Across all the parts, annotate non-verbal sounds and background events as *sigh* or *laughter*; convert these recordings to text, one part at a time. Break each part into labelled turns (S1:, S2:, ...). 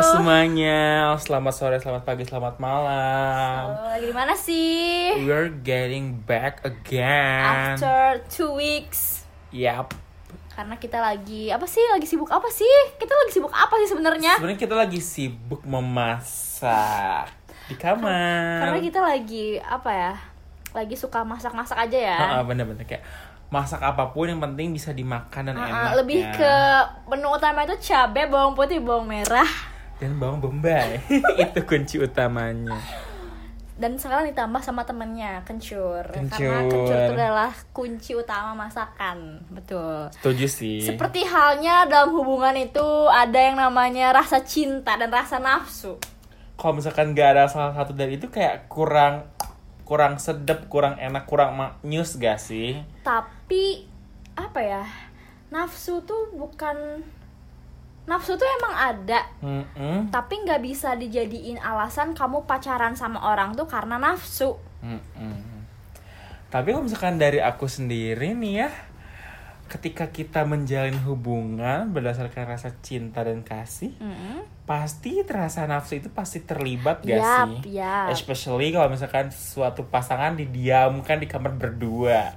S1: semuanya. Selamat sore, selamat pagi, selamat malam.
S2: Oh, lagi di mana sih?
S1: We're getting back again.
S2: After two weeks.
S1: Yap.
S2: Karena kita lagi apa sih? Lagi sibuk apa sih? Kita lagi sibuk apa sih sebenarnya?
S1: Sebenarnya kita lagi sibuk memasak di kamar.
S2: Karena kita lagi apa ya? Lagi suka masak-masak aja ya.
S1: Heeh, bener-bener kayak masak apapun yang penting bisa dimakan
S2: Ah,
S1: dan
S2: ah,
S1: enak.
S2: lebih
S1: ya.
S2: ke menu utama itu cabe, bawang putih, bawang merah.
S1: dan bawang bombay *laughs* itu kunci utamanya.
S2: Dan sekarang ditambah sama temennya, kencur. Karena
S1: Kencur.
S2: kencur itu adalah kunci utama masakan. Betul.
S1: Setuju sih.
S2: Seperti halnya dalam hubungan itu ada yang namanya rasa cinta dan rasa nafsu.
S1: kalau misalkan gak ada salah satu dari itu kayak kurang kurang sedep, kurang enak, kurang maknyus gak sih?
S2: Tapi apa ya? Nafsu tuh bukan nafsu tuh emang ada,
S1: Mm-mm.
S2: tapi nggak bisa dijadiin alasan kamu pacaran sama orang tuh karena nafsu.
S1: Mm-mm. Tapi kalau misalkan dari aku sendiri nih ya, ketika kita menjalin hubungan berdasarkan rasa cinta dan kasih, pasti terasa nafsu itu pasti terlibat gak
S2: Yap,
S1: sih?
S2: yap.
S1: Especially kalau misalkan suatu pasangan didiamkan di kamar berdua.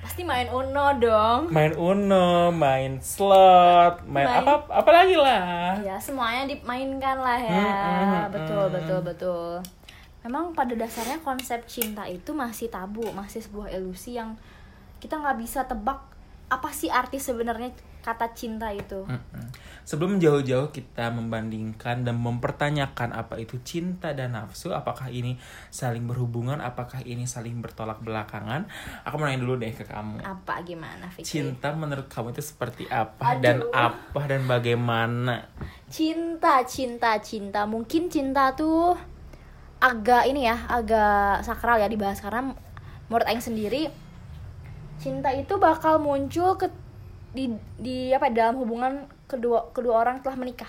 S2: Pasti main Uno dong.
S1: Main Uno, main slot, main,
S2: Main-
S1: apa apa lagi lah.
S2: Ya, semuanya dimainkan lah ya.
S1: Mm, mm,
S2: Betul,
S1: mm.
S2: betul, betul. Memang pada dasarnya konsep cinta itu masih tabu, masih sebuah ilusi yang kita nggak bisa tebak apa sih arti sebenarnya kata cinta itu.
S1: Mm-mm. Sebelum jauh-jauh kita membandingkan dan mempertanyakan apa itu cinta dan nafsu, apakah ini saling berhubungan, apakah ini saling bertolak belakangan, aku mau nanya dulu deh ke kamu.
S2: Apa gimana, Fikri?
S1: Cinta menurut kamu itu seperti apa dan
S2: Aduh.
S1: apa dan bagaimana?
S2: Cinta, cinta, cinta. Mungkin cinta tuh agak ini ya, agak sakral ya dibahas karena menurut aing sendiri cinta itu bakal muncul ke di di apa ya, dalam hubungan kedua kedua orang telah menikah.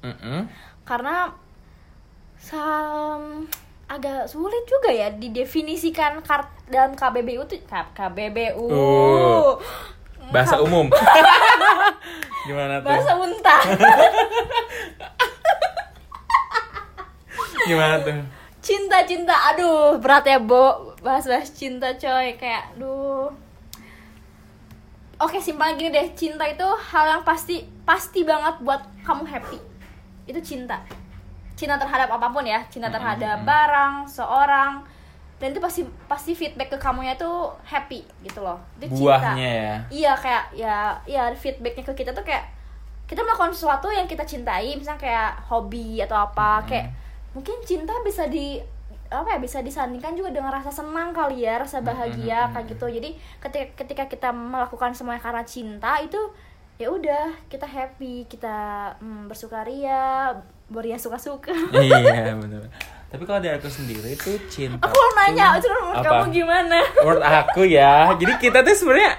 S1: Mm-mm.
S2: Karena sam agak sulit juga ya didefinisikan kar- dalam KBBU tuh K- KBBU.
S1: Uh. Bahasa umum. *laughs* Gimana tuh?
S2: Bahasa unta.
S1: Gimana tuh?
S2: cinta cinta aduh berat ya bo bahas bahas cinta coy kayak duh oke simpel gini deh cinta itu hal yang pasti pasti banget buat kamu happy itu cinta cinta terhadap apapun ya cinta terhadap barang seorang dan itu pasti pasti feedback ke kamunya tuh happy gitu loh itu cinta
S1: Buahnya ya.
S2: iya kayak ya ya feedbacknya ke kita tuh kayak kita melakukan sesuatu yang kita cintai misalnya kayak hobi atau apa
S1: Hmm.
S2: kayak mungkin cinta bisa di apa ya bisa disandingkan juga dengan rasa senang kali ya rasa
S1: Hmm,
S2: bahagia kayak gitu jadi ketika ketika kita melakukan semuanya karena cinta itu ya udah kita happy kita mm, bersukaria Boria suka-suka *laughs*
S1: iya, benar. Tapi kalau dari aku sendiri itu cinta.
S2: aku mau nanya itu
S1: tuh-
S2: menurut
S1: Apa?
S2: kamu gimana
S1: menurut aku ya jadi kita tuh sebenarnya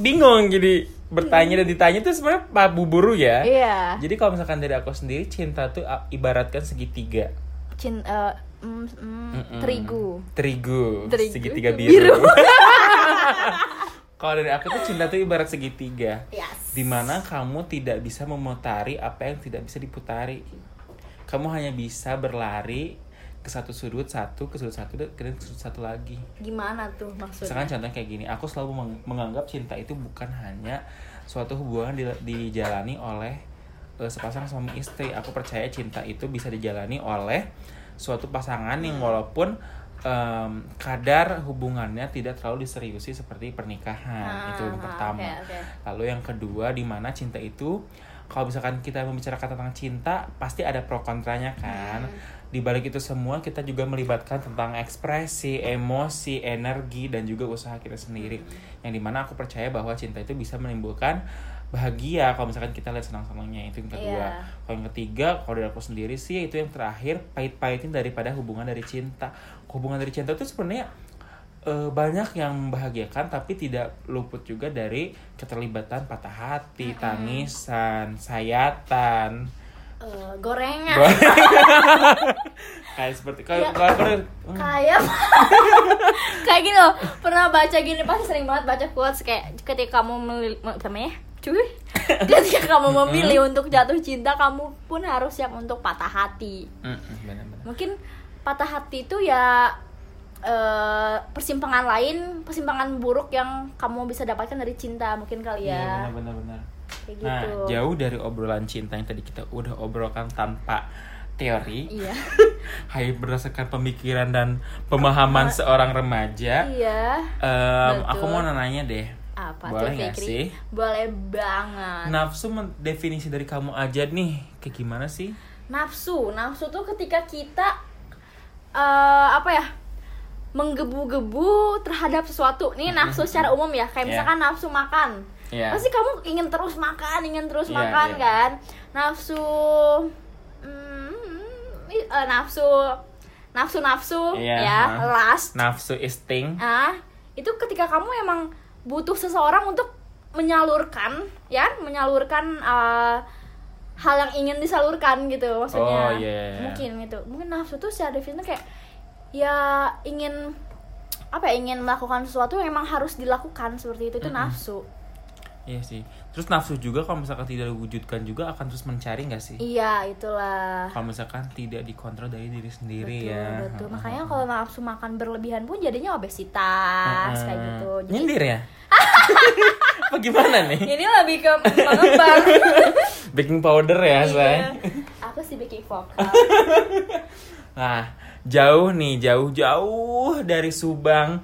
S1: bingung jadi bertanya dan ditanya tuh sebenarnya pak buburu ya
S2: iya
S1: jadi kalau misalkan dari aku sendiri cinta tuh a- ibaratkan segitiga
S2: cinta
S1: Mm-mm.
S2: eh, mm, terigu
S1: terigu,
S2: Terigu.
S1: segitiga biru,
S2: Biru.
S1: *laughs* kalau dari aku tuh cinta tuh ibarat segitiga
S2: yes
S1: dimana kamu tidak bisa memutari apa yang tidak bisa diputari kamu hanya bisa berlari ke satu sudut satu ke sudut satu dan ke sudut satu lagi
S2: gimana tuh maksudnya
S1: Misalkan contoh kayak gini, aku selalu meng- menganggap cinta itu bukan hanya suatu hubungan di- dijalani oleh eh, sepasang suami istri. Aku percaya cinta itu bisa dijalani oleh suatu pasangan yang
S2: Hmm.
S1: walaupun em, kadar hubungannya tidak terlalu diseriusi seperti pernikahan.
S2: Ah,
S1: Nah, itu yang
S2: ah,
S1: pertama.
S2: oke, oke.
S1: Lalu yang kedua, di mana cinta itu kalau misalkan kita membicarakan tentang cinta, pasti ada pro kontranya kan. Di balik itu semua kita juga melibatkan tentang ekspresi, emosi, energi dan juga usaha kita sendiri. Yang dimana aku percaya bahwa cinta itu bisa menimbulkan bahagia kalau misalkan kita lihat senang-senangnya itu yang kedua.
S2: Iya.
S1: Kalau yang ketiga, kalau dari aku sendiri sih itu yang terakhir pahit-pahitin daripada hubungan dari cinta. Hubungan dari cinta itu sebenarnya eh, banyak yang membahagiakan tapi tidak luput juga dari keterlibatan patah hati, tangisan, sayatan.
S2: Eh, gorengan
S1: Gua- kayak seperti kalau
S2: Ya.
S1: kalau kalau-
S2: kayak *laughs* kayak gini loh pernah baca gini pasti sering banget baca quotes kayak ketika kamu meli- me- apa namanya cuy
S1: *laughs*
S2: ketika kamu memilih untuk jatuh cinta kamu pun harus siap untuk patah hati
S1: Mm-mm, benar-benar.
S2: mungkin patah hati itu ya eh, persimpangan lain persimpangan buruk yang kamu bisa dapatkan dari cinta mungkin kali
S1: Iya,
S2: ya
S1: benar-benar.
S2: kayak
S1: Nah,
S2: gitu
S1: jauh dari obrolan cinta yang tadi kita udah obrolkan tanpa teori,
S2: iya
S1: hanya berdasarkan pemikiran dan pemahaman seorang remaja.
S2: iya
S1: Em,
S2: Betul.
S1: aku mau nanya deh.
S2: apa
S1: Boleh
S2: tuh
S1: nggak
S2: Fikri?
S1: sih?
S2: boleh banget
S1: Nafsu men- definisi dari kamu aja nih, kayak gimana sih?
S2: nafsu nafsu tuh ketika kita eh, apa ya menggebu-gebu terhadap sesuatu nih nafsu secara umum ya kayak
S1: Iya.
S2: misalkan nafsu makan
S1: Iya.
S2: pasti kamu ingin terus makan ingin terus
S1: Iya,
S2: makan
S1: iya.
S2: kan nafsu mm, i- eh, nafsu nafsu nafsu
S1: Iya,
S2: ya
S1: huh.
S2: lust
S1: Nafsu is thing.
S2: ah itu ketika kamu emang butuh seseorang untuk menyalurkan ya menyalurkan eh, hal yang ingin disalurkan gitu maksudnya
S1: Oh, iya.
S2: mungkin gitu mungkin nafsu tuh secara definisi kayak ya ingin apa ya ingin melakukan sesuatu yang emang harus dilakukan seperti itu itu nafsu
S1: Iya sih. Terus nafsu juga kalau misalkan tidak diwujudkan juga akan terus mencari nggak sih?
S2: iya itulah
S1: Kalau misalkan tidak dikontrol dari diri sendiri
S2: betul
S1: ya.
S2: betul makanya kalau nafsu makan berlebihan pun jadinya obesitas kayak gitu jadi Iya.
S1: Jadi... Nyindir
S2: *laughs*
S1: ya? Apa gimana nih?
S2: ini lebih ke mengembang
S1: *laughs* Baking powder ya, Shay?
S2: Iya. aku sih bikin vokal
S1: Nah, jauh nih, jauh-jauh dari Subang.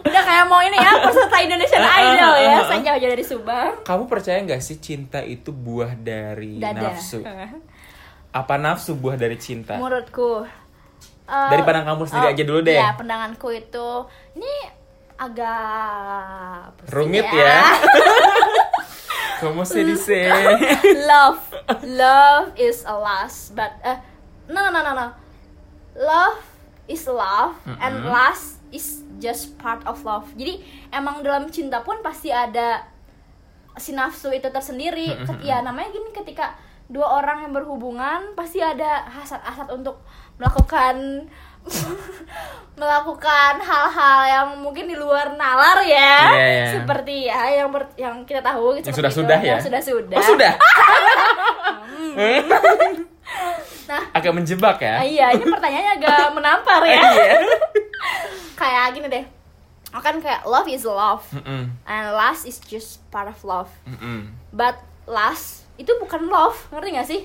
S2: Udah kayak mau ini ya,
S1: *laughs*
S2: peserta Indonesian
S1: Eh,
S2: Idol ya. Saya jauh-jauh dari Subang.
S1: Kamu percaya nggak sih cinta itu buah dari
S2: Dada.
S1: nafsu? Apa nafsu buah dari
S2: Eh,
S1: cinta?
S2: Menurutku. eh,
S1: Dari pandang kamu sendiri aja dulu deh.
S2: Iya, pandanganku itu ini agak pusing
S1: Rumit ya. Kamu sedih sih.
S2: *laughs* love, love is a lust, but eh, no no no no. Love is love and lust is just part of love. Jadi emang dalam cinta pun pasti ada si nafsu itu tersendiri. Ket- Ya namanya gini ketika dua orang yang berhubungan pasti ada hasad-hasad untuk melakukan *laughs* melakukan hal-hal yang mungkin di luar nalar ya.
S1: Iya, iya.
S2: Seperti ya yang ber- yang kita tahu
S1: Yang
S2: seperti
S1: sudah-sudah
S2: itu.
S1: ya?
S2: Yang sudah-sudah. Hmm.
S1: Oh sudah? *laughs*
S2: Nah,
S1: Agak menjebak ya?
S2: ah, iya ini pertanyaannya
S1: *laughs*
S2: agak menampar ya.
S1: Iya.
S2: *laughs* kayak gini deh. Oh, Kan kayak love is love
S1: Mm-mm,
S2: and lust is just part of love.
S1: mm-mm.
S2: But lust itu bukan love, ngerti gak sih?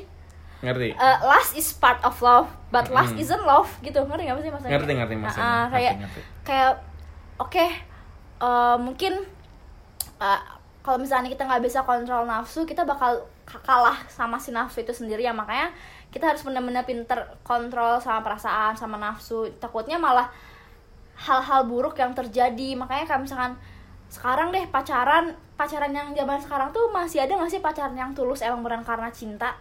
S1: Ngerti?
S2: Eh, lust is part of love, but lust
S1: Mm-mm.
S2: isn't love gitu. Ngerti gak sih maksudnya?
S1: Hmm. Ngerti, ngerti maksudnya.
S2: Ah, ah,
S1: Ngerti,
S2: kayak
S1: ngerti.
S2: kayak oke eh, mungkin eh, kalau misalnya kita nggak bisa kontrol nafsu kita bakal k- kalah sama si nafsu itu sendiri ya makanya kita harus benar-benar pinter kontrol sama perasaan sama nafsu takutnya malah hal-hal buruk yang terjadi makanya kayak misalkan sekarang deh pacaran pacaran yang zaman sekarang tuh masih ada nggak sih pacaran yang tulus emang beran karena cinta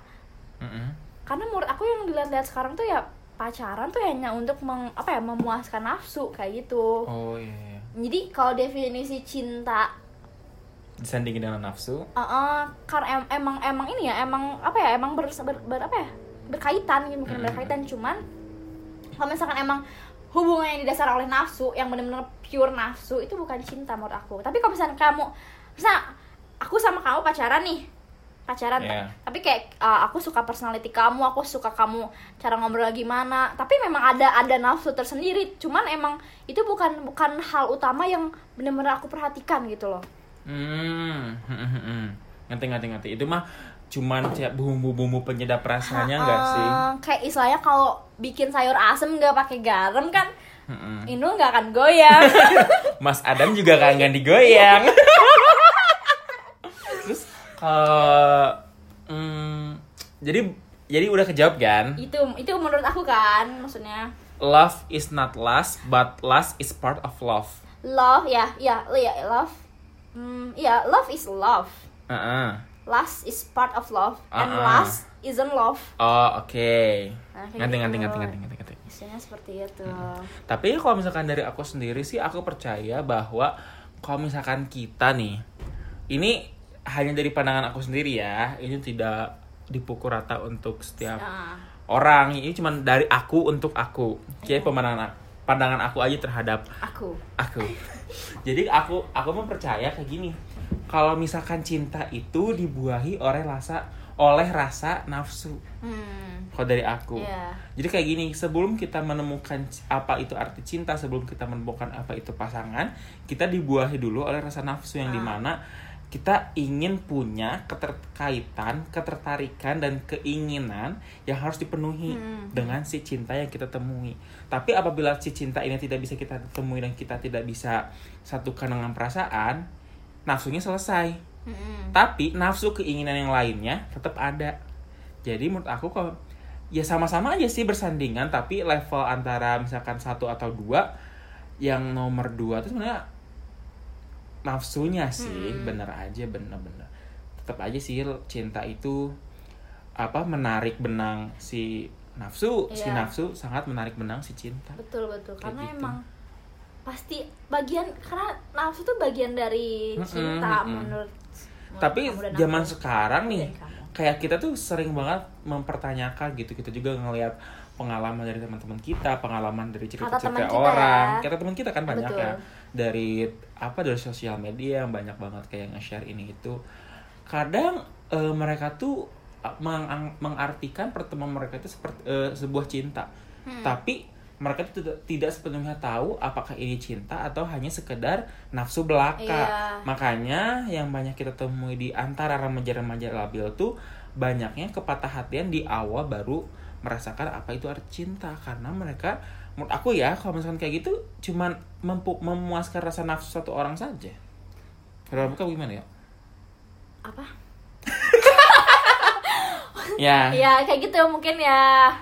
S1: Mm-mm.
S2: karena menurut aku yang dilihat-lihat sekarang tuh ya pacaran tuh hanya untuk meng- apa ya memuaskan nafsu kayak gitu
S1: Oh iya, iya.
S2: jadi kalau definisi cinta
S1: Disandingin dengan nafsu.
S2: eh, eh, karena em- emang emang ini ya emang apa ya emang ber, ber- ber- apa ya berkaitan gitu mungkin
S1: Mm-mm.
S2: berkaitan cuman kalau misalkan emang hubungan yang didasar oleh nafsu yang benar-benar pure nafsu itu bukan cinta menurut aku tapi kalau misalkan kamu misal aku sama kamu pacaran nih pacaran
S1: Iya.
S2: tapi kayak eh, aku suka personality kamu aku suka kamu cara ngobrol gimana tapi memang ada ada nafsu tersendiri cuman emang itu bukan bukan hal utama yang benar-benar aku perhatikan gitu loh
S1: Hmm, ngerti ngerti ngerti. Itu mah cuman kayak bumbu-bumbu penyedap rasanya enggak sih?
S2: Eh, kayak istilahnya kalau bikin sayur asem nggak pakai garam kan
S1: Mm-mm.
S2: Inul nggak akan goyang
S1: *laughs* Mas Adam juga kangen digoyang. *laughs* Terus kalau mm, jadi jadi udah kejawab kan?
S2: itu itu menurut aku kan maksudnya
S1: Love is not lust, but lust is part of love.
S2: love ya ya ya love hmm, ya love is love
S1: Heeh.
S2: lust is part of love and
S1: Ah, ah.
S2: lust isn't love
S1: Oh, oke.
S2: Nah, kayak
S1: Ngerti
S2: gitu.
S1: ngerti ngerti ngerti ngerti ngerti.
S2: istilahnya seperti itu
S1: Tapi kalau misalkan dari aku sendiri sih aku percaya bahwa kalau misalkan kita nih ini hanya dari pandangan aku sendiri ya. Ini tidak dipukul rata untuk setiap
S2: Nah,
S1: orang. Ini cuma dari aku untuk aku. Jadi pemandangan pandangan aku *laughs* aja terhadap
S2: aku
S1: aku. Jadi aku aku mempercaya kayak gini. kalau misalkan cinta itu dibuahi oleh rasa oleh rasa nafsu
S2: Hmm.
S1: kalau dari aku
S2: Iya.
S1: jadi kayak gini sebelum kita menemukan c- apa itu arti cinta sebelum kita menemukan apa itu pasangan kita dibuahi dulu oleh rasa nafsu yang
S2: Ah.
S1: dimana kita ingin punya keterkaitan ketertarikan dan keinginan yang harus dipenuhi
S2: Hmm.
S1: dengan si cinta yang kita temui tapi apabila si cinta ini tidak bisa kita temui dan kita tidak bisa satukan dengan perasaan nafsunya selesai
S2: Hmm.
S1: tapi nafsu keinginan yang lainnya tetap ada jadi menurut aku kalau ya sama-sama aja sih bersandingan tapi level antara misalkan satu atau dua yang nomor dua itu sebenarnya nafsunya sih
S2: Mm-mm.
S1: bener aja bener-bener tetap aja sih cinta itu apa menarik benang si nafsu si
S2: Iya.
S1: nafsu sangat menarik benang si cinta
S2: betul betul
S1: Kayak
S2: karena
S1: gitu.
S2: emang pasti bagian karena nafsu tuh bagian dari
S1: Mm-mm,
S2: cinta
S1: mm-mm.
S2: menurut menurut
S1: tapi
S2: kamu dan
S1: zaman
S2: aku.
S1: sekarang nih
S2: Dan kamu.
S1: kayak kita tuh sering banget mempertanyakan gitu kita juga ngelihat pengalaman dari teman-teman kita pengalaman dari
S2: Kata teman
S1: cerita-cerita
S2: kita
S1: orang
S2: ya.
S1: kata teman kita kan banyak
S2: Betul.
S1: ya dari apa dari sosial media yang banyak banget kayak nge-share ini itu kadang eh, mereka tuh eh, mengang- mengartikan pertemuan mereka itu seperti eh, sebuah cinta
S2: Hmm.
S1: tapi mereka tuh tidak, tidak sepenuhnya tahu apakah ini cinta atau hanya sekedar nafsu belaka
S2: Iya.
S1: makanya yang banyak kita temui di antara remaja-remaja labil tuh banyaknya kepatah hatian di awal baru merasakan apa itu arti cinta karena mereka menurut aku ya kalau misalkan kayak gitu cuman mempu- memuaskan rasa nafsu satu orang saja kalau buka gimana ya
S2: apa
S1: *laughs* ya
S2: ya kayak gitu mungkin ya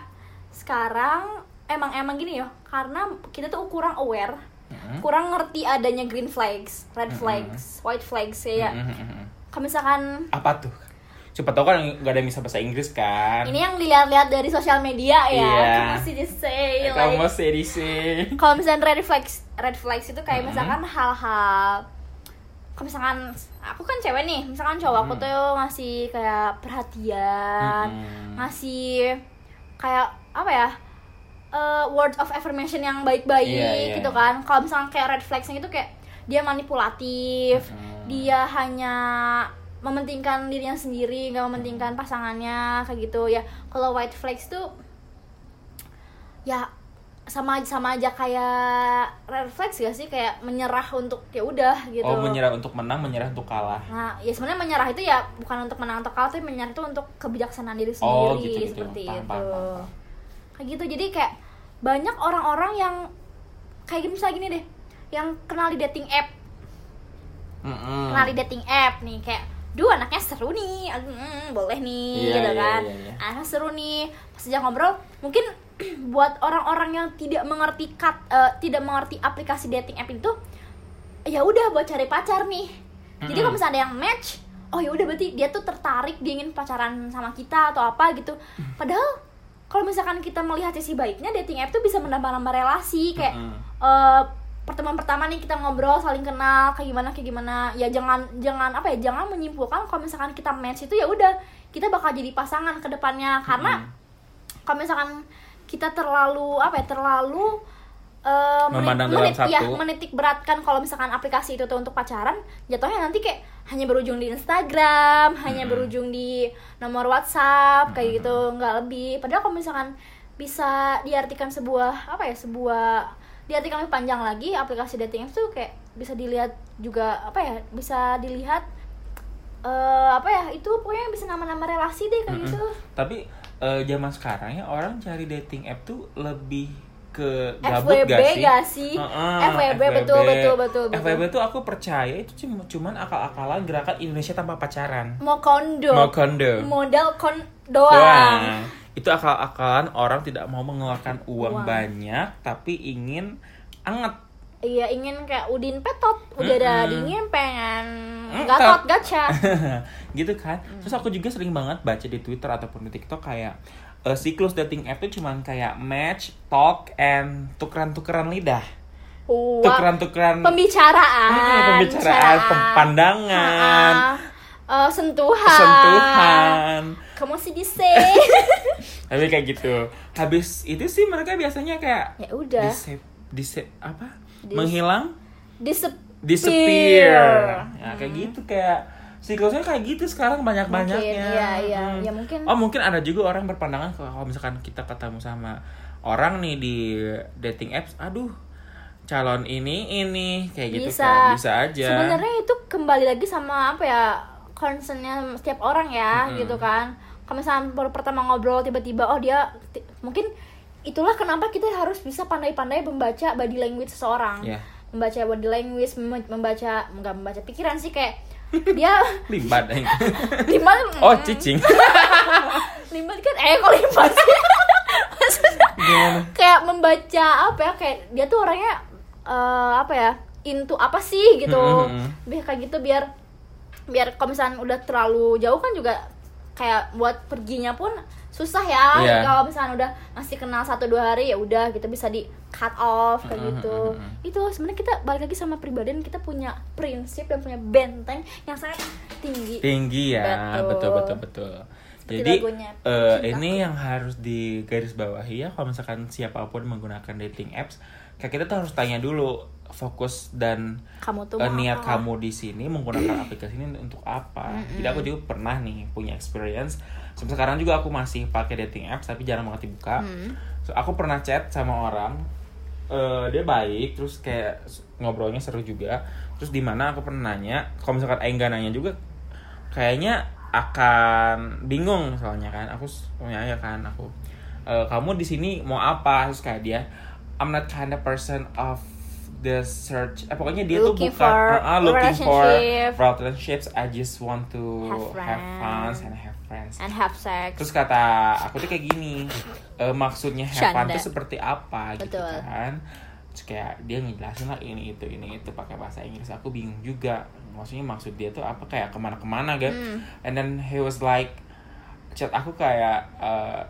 S2: sekarang emang emang gini ya karena kita tuh kurang aware
S1: Mm-mm.
S2: kurang ngerti adanya green flags red
S1: Hmm? Mm-mm.
S2: flags white flags ya, ya.
S1: Mm-mm.
S2: kalau misalkan
S1: apa tuh siapa tahu kan gak ada yang bisa bahasa Inggris kan
S2: ini yang dilihat-lihat dari sosial media ya
S1: Iya. Eh,
S2: kamu sih just say like-
S1: kamu sedih sih
S2: kalau misalnya red flags red flags itu kayak
S1: Mhm.
S2: misalkan hal-hal kalau misalkan aku kan cewek nih misalkan cowok aku
S1: Mhm.
S2: tuh ngasih kayak perhatian
S1: Mm-mm.
S2: ngasih kayak apa ya eh, words of affirmation yang baik-baik
S1: Iya, iya.
S2: gitu kan kalau misalkan kayak red flagsnya itu kayak dia manipulatif
S1: Mm.
S2: dia hanya mementingkan dirinya sendiri nggak mementingkan pasangannya kayak gitu ya kalau white flags tuh ya sama sama aja kayak red flags gak sih kayak menyerah untuk ya udah gitu
S1: oh menyerah untuk menang menyerah untuk kalah
S2: nah ya sebenarnya menyerah itu ya bukan untuk menang atau kalah tapi menyerah itu untuk kebijaksanaan diri sendiri
S1: Oh, gitu, gitu.
S2: seperti
S1: Paham,
S2: itu
S1: paham, paham.
S2: kayak gitu jadi kayak banyak orang-orang yang kayak gini misalnya gini deh yang kenal di dating app
S1: Mm-mm.
S2: kenal di dating app nih kayak duh anaknya seru nih hmm, boleh nih
S1: Iya,
S2: gitu
S1: iya,
S2: kan
S1: iya, iya.
S2: anaknya seru nih pas sejak ngobrol mungkin *clears throat* buat orang-orang yang tidak mengerti kat- eh, tidak mengerti aplikasi dating app itu ya udah buat cari pacar nih jadi
S1: Mm-mm.
S2: kalau misalnya ada yang match oh ya udah berarti dia tuh tertarik dia ingin pacaran sama kita atau apa gitu
S1: Hmm.
S2: padahal kalau misalkan kita melihat sisi baiknya dating app tuh bisa menambah-nambah relasi kayak
S1: Mm-mm.
S2: eh pertemuan pertama nih kita ngobrol saling kenal kayak gimana kayak gimana ya jangan jangan apa ya jangan menyimpulkan kalau misalkan kita match itu ya udah kita bakal jadi pasangan ke depannya
S1: Hmm.
S2: karena kalau misalkan kita terlalu apa ya terlalu eh, menit,
S1: Memandang dalam
S2: menit- ya,
S1: satu.
S2: menitik beratkan kalau misalkan aplikasi itu tuh untuk pacaran jatuhnya nanti kayak hanya berujung di Instagram hanya
S1: Mm-mm.
S2: berujung di nomor WhatsApp kayak
S1: Mm-mm.
S2: gitu nggak lebih padahal kalau misalkan bisa diartikan sebuah apa ya sebuah diartikan lebih panjang lagi aplikasi dating apps tuh kayak bisa dilihat juga apa ya bisa dilihat eh, apa ya itu pokoknya bisa nama-nama relasi deh kayak
S1: Mm-mm.
S2: gitu
S1: tapi eh, zaman sekarang ya orang cari dating app tuh lebih ke gabut
S2: FWB
S1: gak sih?
S2: gak sih?
S1: Heeh,
S2: FWB, betul, betul, betul, betul.
S1: FWB tuh aku percaya itu cuma cuman akal-akalan gerakan Indonesia tanpa pacaran.
S2: Mau kondo.
S1: Mau kondo.
S2: Modal kon
S1: Doang.
S2: doang.
S1: Itu akal-akalan orang tidak mau mengeluarkan uang,
S2: Uang.
S1: banyak tapi ingin anget.
S2: Iya ingin kayak udin petot, udara
S1: Mm-mm.
S2: dingin pengen
S1: Mm,
S2: gatot
S1: tot.
S2: gacha.
S1: *laughs* gitu kan.
S2: Hmm.
S1: Terus aku juga sering banget baca di Twitter ataupun di TikTok kayak eh, siklus dating app tuh cuman kayak match, talk and tukeran-tukeran lidah.
S2: Wah,
S1: Tukeran-tukeran
S2: pembicaraan,
S1: Hmm, pembicaraan,
S2: pembicaraan.
S1: pandangan,
S2: Ah, eh, sentuhan.
S1: sentuhan.
S2: Kamu sih dise.
S1: Tapi kayak gitu. Habis itu sih mereka biasanya kayak
S2: *laughs* ya udah.
S1: disep disep apa?
S2: Dis-
S1: Menghilang?
S2: Disep
S1: disappear.
S2: Disappear.
S1: Ya, kayak gitu kayak siklusnya kayak gitu sekarang banyak-banyaknya.
S2: Mungkin, iya, iya.
S1: Hmm.
S2: Ya, mungkin.
S1: Oh, mungkin ada juga orang berpandangan kalau kalau misalkan kita ketemu sama orang nih di dating apps, aduh calon ini ini kayak gitu
S2: bisa
S1: kan bisa aja.
S2: sebenarnya itu kembali lagi sama apa ya concernnya setiap orang ya gitu kan kalau misalnya baru pertama ngobrol tiba-tiba oh dia ti- mungkin itulah kenapa kita harus bisa pandai-pandai membaca body language seseorang
S1: Iya.
S2: membaca body language mem- membaca nggak membaca pikiran sih kayak dia *laughs*
S1: Limbat. eh.
S2: limbah
S1: oh,
S2: *laughs*
S1: cicing.
S2: limbah kan eh kok limbah sih Maksudnya-
S1: Gimana?
S2: kayak membaca apa ya kayak dia tuh orangnya eh, apa ya into apa sih gitu
S1: Hmm, hmm, hmm.
S2: biar kayak gitu biar biar kalau misalnya udah terlalu jauh kan juga kayak buat perginya pun susah ya
S1: Iya.
S2: kalau misalnya udah masih kenal satu dua hari ya udah kita bisa di cut off kayak
S1: Hmm, hmm,
S2: gitu
S1: hmm, hmm.
S2: itu sebenarnya kita balik lagi sama pribadian kita punya prinsip dan punya benteng yang sangat tinggi
S1: tinggi ya
S2: Betul.
S1: betul betul betul,
S2: Seperti
S1: jadi
S2: lagunya,
S1: eh,
S2: Cintaku.
S1: ini yang harus digarisbawahi ya kalau misalkan siapapun menggunakan dating apps kayak kita tuh harus tanya dulu fokus dan
S2: kamu tuh
S1: eh,
S2: mau
S1: niat
S2: apa?
S1: kamu di sini menggunakan aplikasi ini untuk apa jadi aku juga pernah nih punya experience Sampai sekarang juga aku masih pakai dating apps tapi jarang banget dibuka
S2: Hmm.
S1: So, aku pernah chat sama orang eh, dia baik terus kayak s- ngobrolnya seru juga terus di mana aku pernah nanya kalau misalkan Aing nggak nanya juga kayaknya akan bingung soalnya kan aku s- mau nanya kan aku "Eh, kamu di sini mau apa terus kayak dia I'm not kind of person of the search eh, pokoknya dia
S2: Looking
S1: tuh bukan
S2: for
S1: ah, ah, looking for
S2: relationship.
S1: relationships I just want to
S2: Have
S1: have fun
S2: friends.
S1: and have friends
S2: and have sex
S1: Terus kata aku tuh kayak gini, e, maksudnya have fun
S2: Canda.
S1: tuh seperti apa gitu
S2: Betul.
S1: kan? Terus kayak dia ngejelasin lah ini itu ini itu pakai bahasa Inggris. Aku bingung juga. Maksudnya maksud dia tuh apa kayak kemana-kemana kan?
S2: Hmm.
S1: And then he was like, chat aku kayak eh,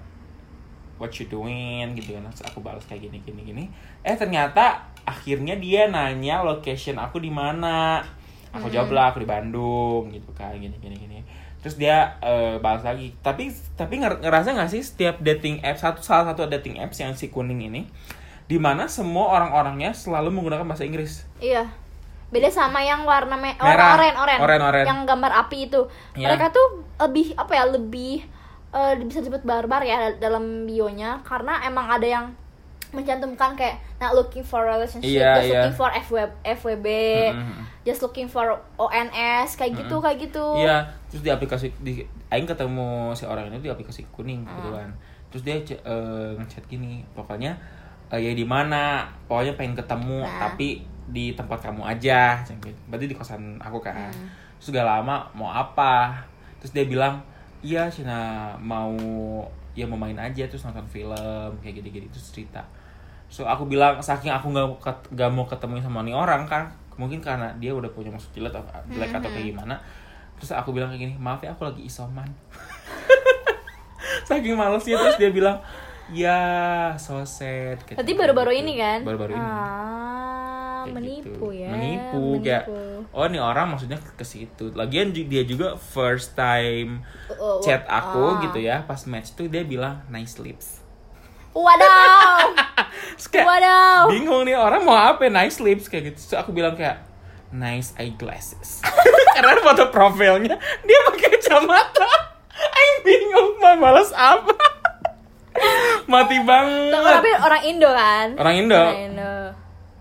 S1: what you doing gitu kan? Terus aku balas kayak gini gini gini. Eh ternyata akhirnya dia nanya location aku di mana. Aku jawab lah aku di Bandung gitu kan gini gini gini. Terus dia eh, balas lagi. Tapi tapi nger- ngerasa nggak sih setiap dating apps satu salah satu dating apps yang si kuning ini di mana semua orang-orangnya selalu menggunakan bahasa Inggris.
S2: Iya. Beda sama yang warna me-
S1: Merah.
S2: warna oren, oren.
S1: Oren, oren.
S2: Yang gambar api itu.
S1: Iya.
S2: Mereka tuh lebih apa ya? Lebih eh, bisa disebut barbar ya dalam bionya karena emang ada yang mencantumkan kayak not looking for relationship,
S1: Iya,
S2: just
S1: iya.
S2: looking for FW- FWB,
S1: Mm-mm.
S2: just looking for ONS kayak gitu, kayak gitu.
S1: Iya, terus di aplikasi di aing ketemu si orang ini di aplikasi kuning kebetulan. Terus dia ce- eh, ngechat gini, pokoknya eh, ya di mana, pokoknya pengen ketemu
S2: Nah.
S1: tapi di tempat kamu aja, ceng gitu. Berarti di kosan aku kan. Terus gak lama mau apa? Terus dia bilang, "Iya, Cina mau ya mau main aja terus nonton film kayak gini-gini terus cerita." So aku bilang saking aku nggak mau ket- nggak mau ketemu sama nih orang kan mungkin karena dia udah punya maksud jelek atau
S2: Hmm,
S1: jelek atau kayak gimana terus aku bilang kayak gini maaf ya aku lagi isoman *laughs* saking malesnya terus dia bilang ya so sad Kayak
S2: Berarti
S1: gitu.
S2: baru-baru ini kan?
S1: baru-baru ini
S2: Ah,
S1: Kayak
S2: menipu
S1: gitu.
S2: ya.
S1: menipu, kayak oh nih orang maksudnya ke situ lagian ju- dia juga first time
S2: Oh, oh,
S1: chat
S2: ah.
S1: aku gitu ya pas match tuh dia bilang nice lips *laughs*
S2: Wadaw.
S1: Terus kayak,
S2: Wadaw.
S1: bingung nih orang mau apa nice lips kayak gitu Terus aku bilang kayak nice
S2: *laughs*
S1: eyeglasses karena foto profilnya dia pakai kacamata Ayo bingung mau males apa mati banget
S2: Nah, Tapi orang Indo kan?
S1: Orang Indo.
S2: Orang Indo.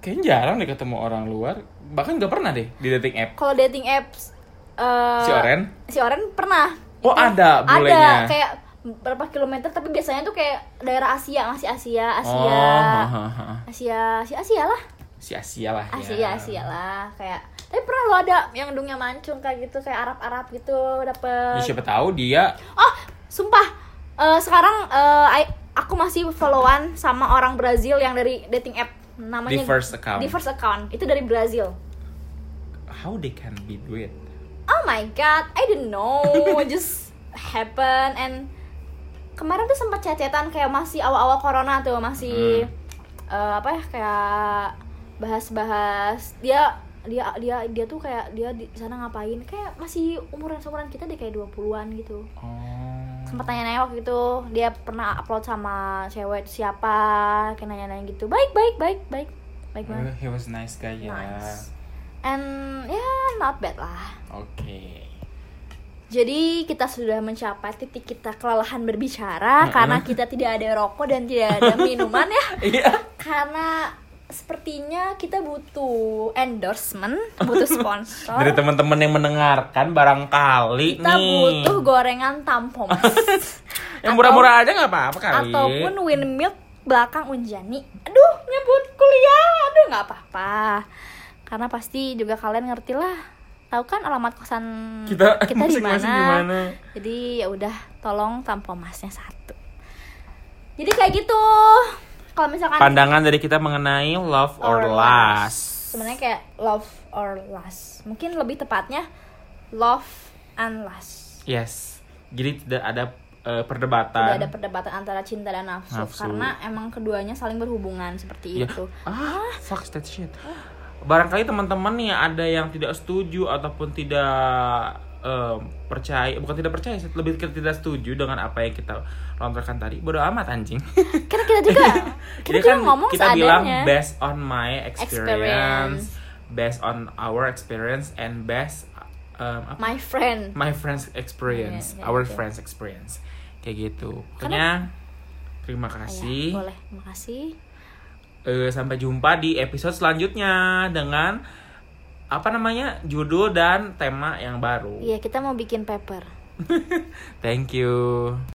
S1: kayaknya jarang deh ketemu orang luar bahkan gak pernah deh di dating app
S2: Kalau dating apps eh,
S1: si Oren
S2: Si Oren pernah.
S1: Oh, ada
S2: Ada
S1: bulenya.
S2: kayak berapa kilometer tapi biasanya tuh kayak daerah Asia, masih Asia, Asia.
S1: oh *laughs* ha, ha, ha.
S2: Asia, si Asia lah.
S1: si Asia lah ya.
S2: Asia, Asia lah kayak. Tapi pernah lo ada yang hidungnya mancung kayak gitu, kayak Arab-Arab gitu
S1: Ya,
S2: dapet
S1: siapa tahu dia
S2: Oh, sumpah. Eh, sekarang eh, I- aku masih followan sama orang Brazil yang dari dating app namanya
S1: Diverse account.
S2: Diverse account. Itu dari Brazil.
S1: how they can be do it
S2: Oh my god, I didn't know. It just happen and kemarin tuh sempat cecetan kayak masih awal-awal corona tuh masih eh, apa ya kayak bahas-bahas dia dia dia dia tuh kayak dia di sana ngapain kayak masih umuran umuran kita deh kayak 20-an gitu
S1: oh
S2: sempat nanya-nanya waktu itu dia pernah upload sama cewek siapa kayak nanya-nanya gitu baik baik baik baik baik banget
S1: he was nice guy ya
S2: Nice. and ya not bad lah
S1: Oke.
S2: jadi kita sudah mencapai titik kita kelelahan berbicara karena kita tidak ada rokok dan tidak ada minuman ya *laughs*
S1: Iya.
S2: karena sepertinya kita butuh endorsement
S1: *laughs*
S2: butuh sponsor
S1: Dari teman-teman yang mendengarkan barangkali
S2: kita
S1: nih.
S2: butuh gorengan tampon
S1: yang murah-murah aja nggak apa-apa *laughs* kali.
S2: ataupun windmill belakang Unjani. Aduh, nyebut kuliah. Aduh, nggak apa-apa. Karena pasti juga kalian ngerti lah. Tahu kan alamat kosan
S1: kita
S2: di
S1: masing-masing
S2: mana?
S1: gimana?
S2: Jadi ya udah, tolong tampon masnya satu. Jadi kayak gitu. Kalau misalkan
S1: Pandangan dari kita mengenai love or,
S2: Kan. Or
S1: lust.
S2: sebenarnya kayak love or lust. Mungkin lebih tepatnya love and lust.
S1: Yes. Jadi tidak ada
S2: Tidak
S1: eh, perdebatan.
S2: ada perdebatan antara cinta dan nafsu,
S1: Nafsu.
S2: karena emang keduanya saling berhubungan seperti
S1: Ya.
S2: itu.
S1: Ah, fuck that shit. Barangkali teman-teman nih ada yang tidak setuju ataupun tidak em, percaya, bukan tidak percaya, sih, lebih ke tidak setuju dengan apa yang kita lontarkan tadi. Bodoh amat anjing.
S2: karena kita
S1: *laughs*
S2: juga kita
S1: Jadi
S2: juga ngomong
S1: Iya kan, kita
S2: seadanya
S1: bilang based on my experience,
S2: Experience.
S1: based on our experience and based um, apa?
S2: my friend
S1: my friends experience,
S2: Iya, iya, iya.
S1: our friends experience. Kayak gitu. Pokoknya
S2: Karena-
S1: terima
S2: Kasih.
S1: kasih.
S2: Iya, boleh makasih
S1: Eh, sampai jumpa di episode selanjutnya dengan apa namanya? judul dan tema yang baru.
S2: iya kita mau bikin paper
S1: Thank you.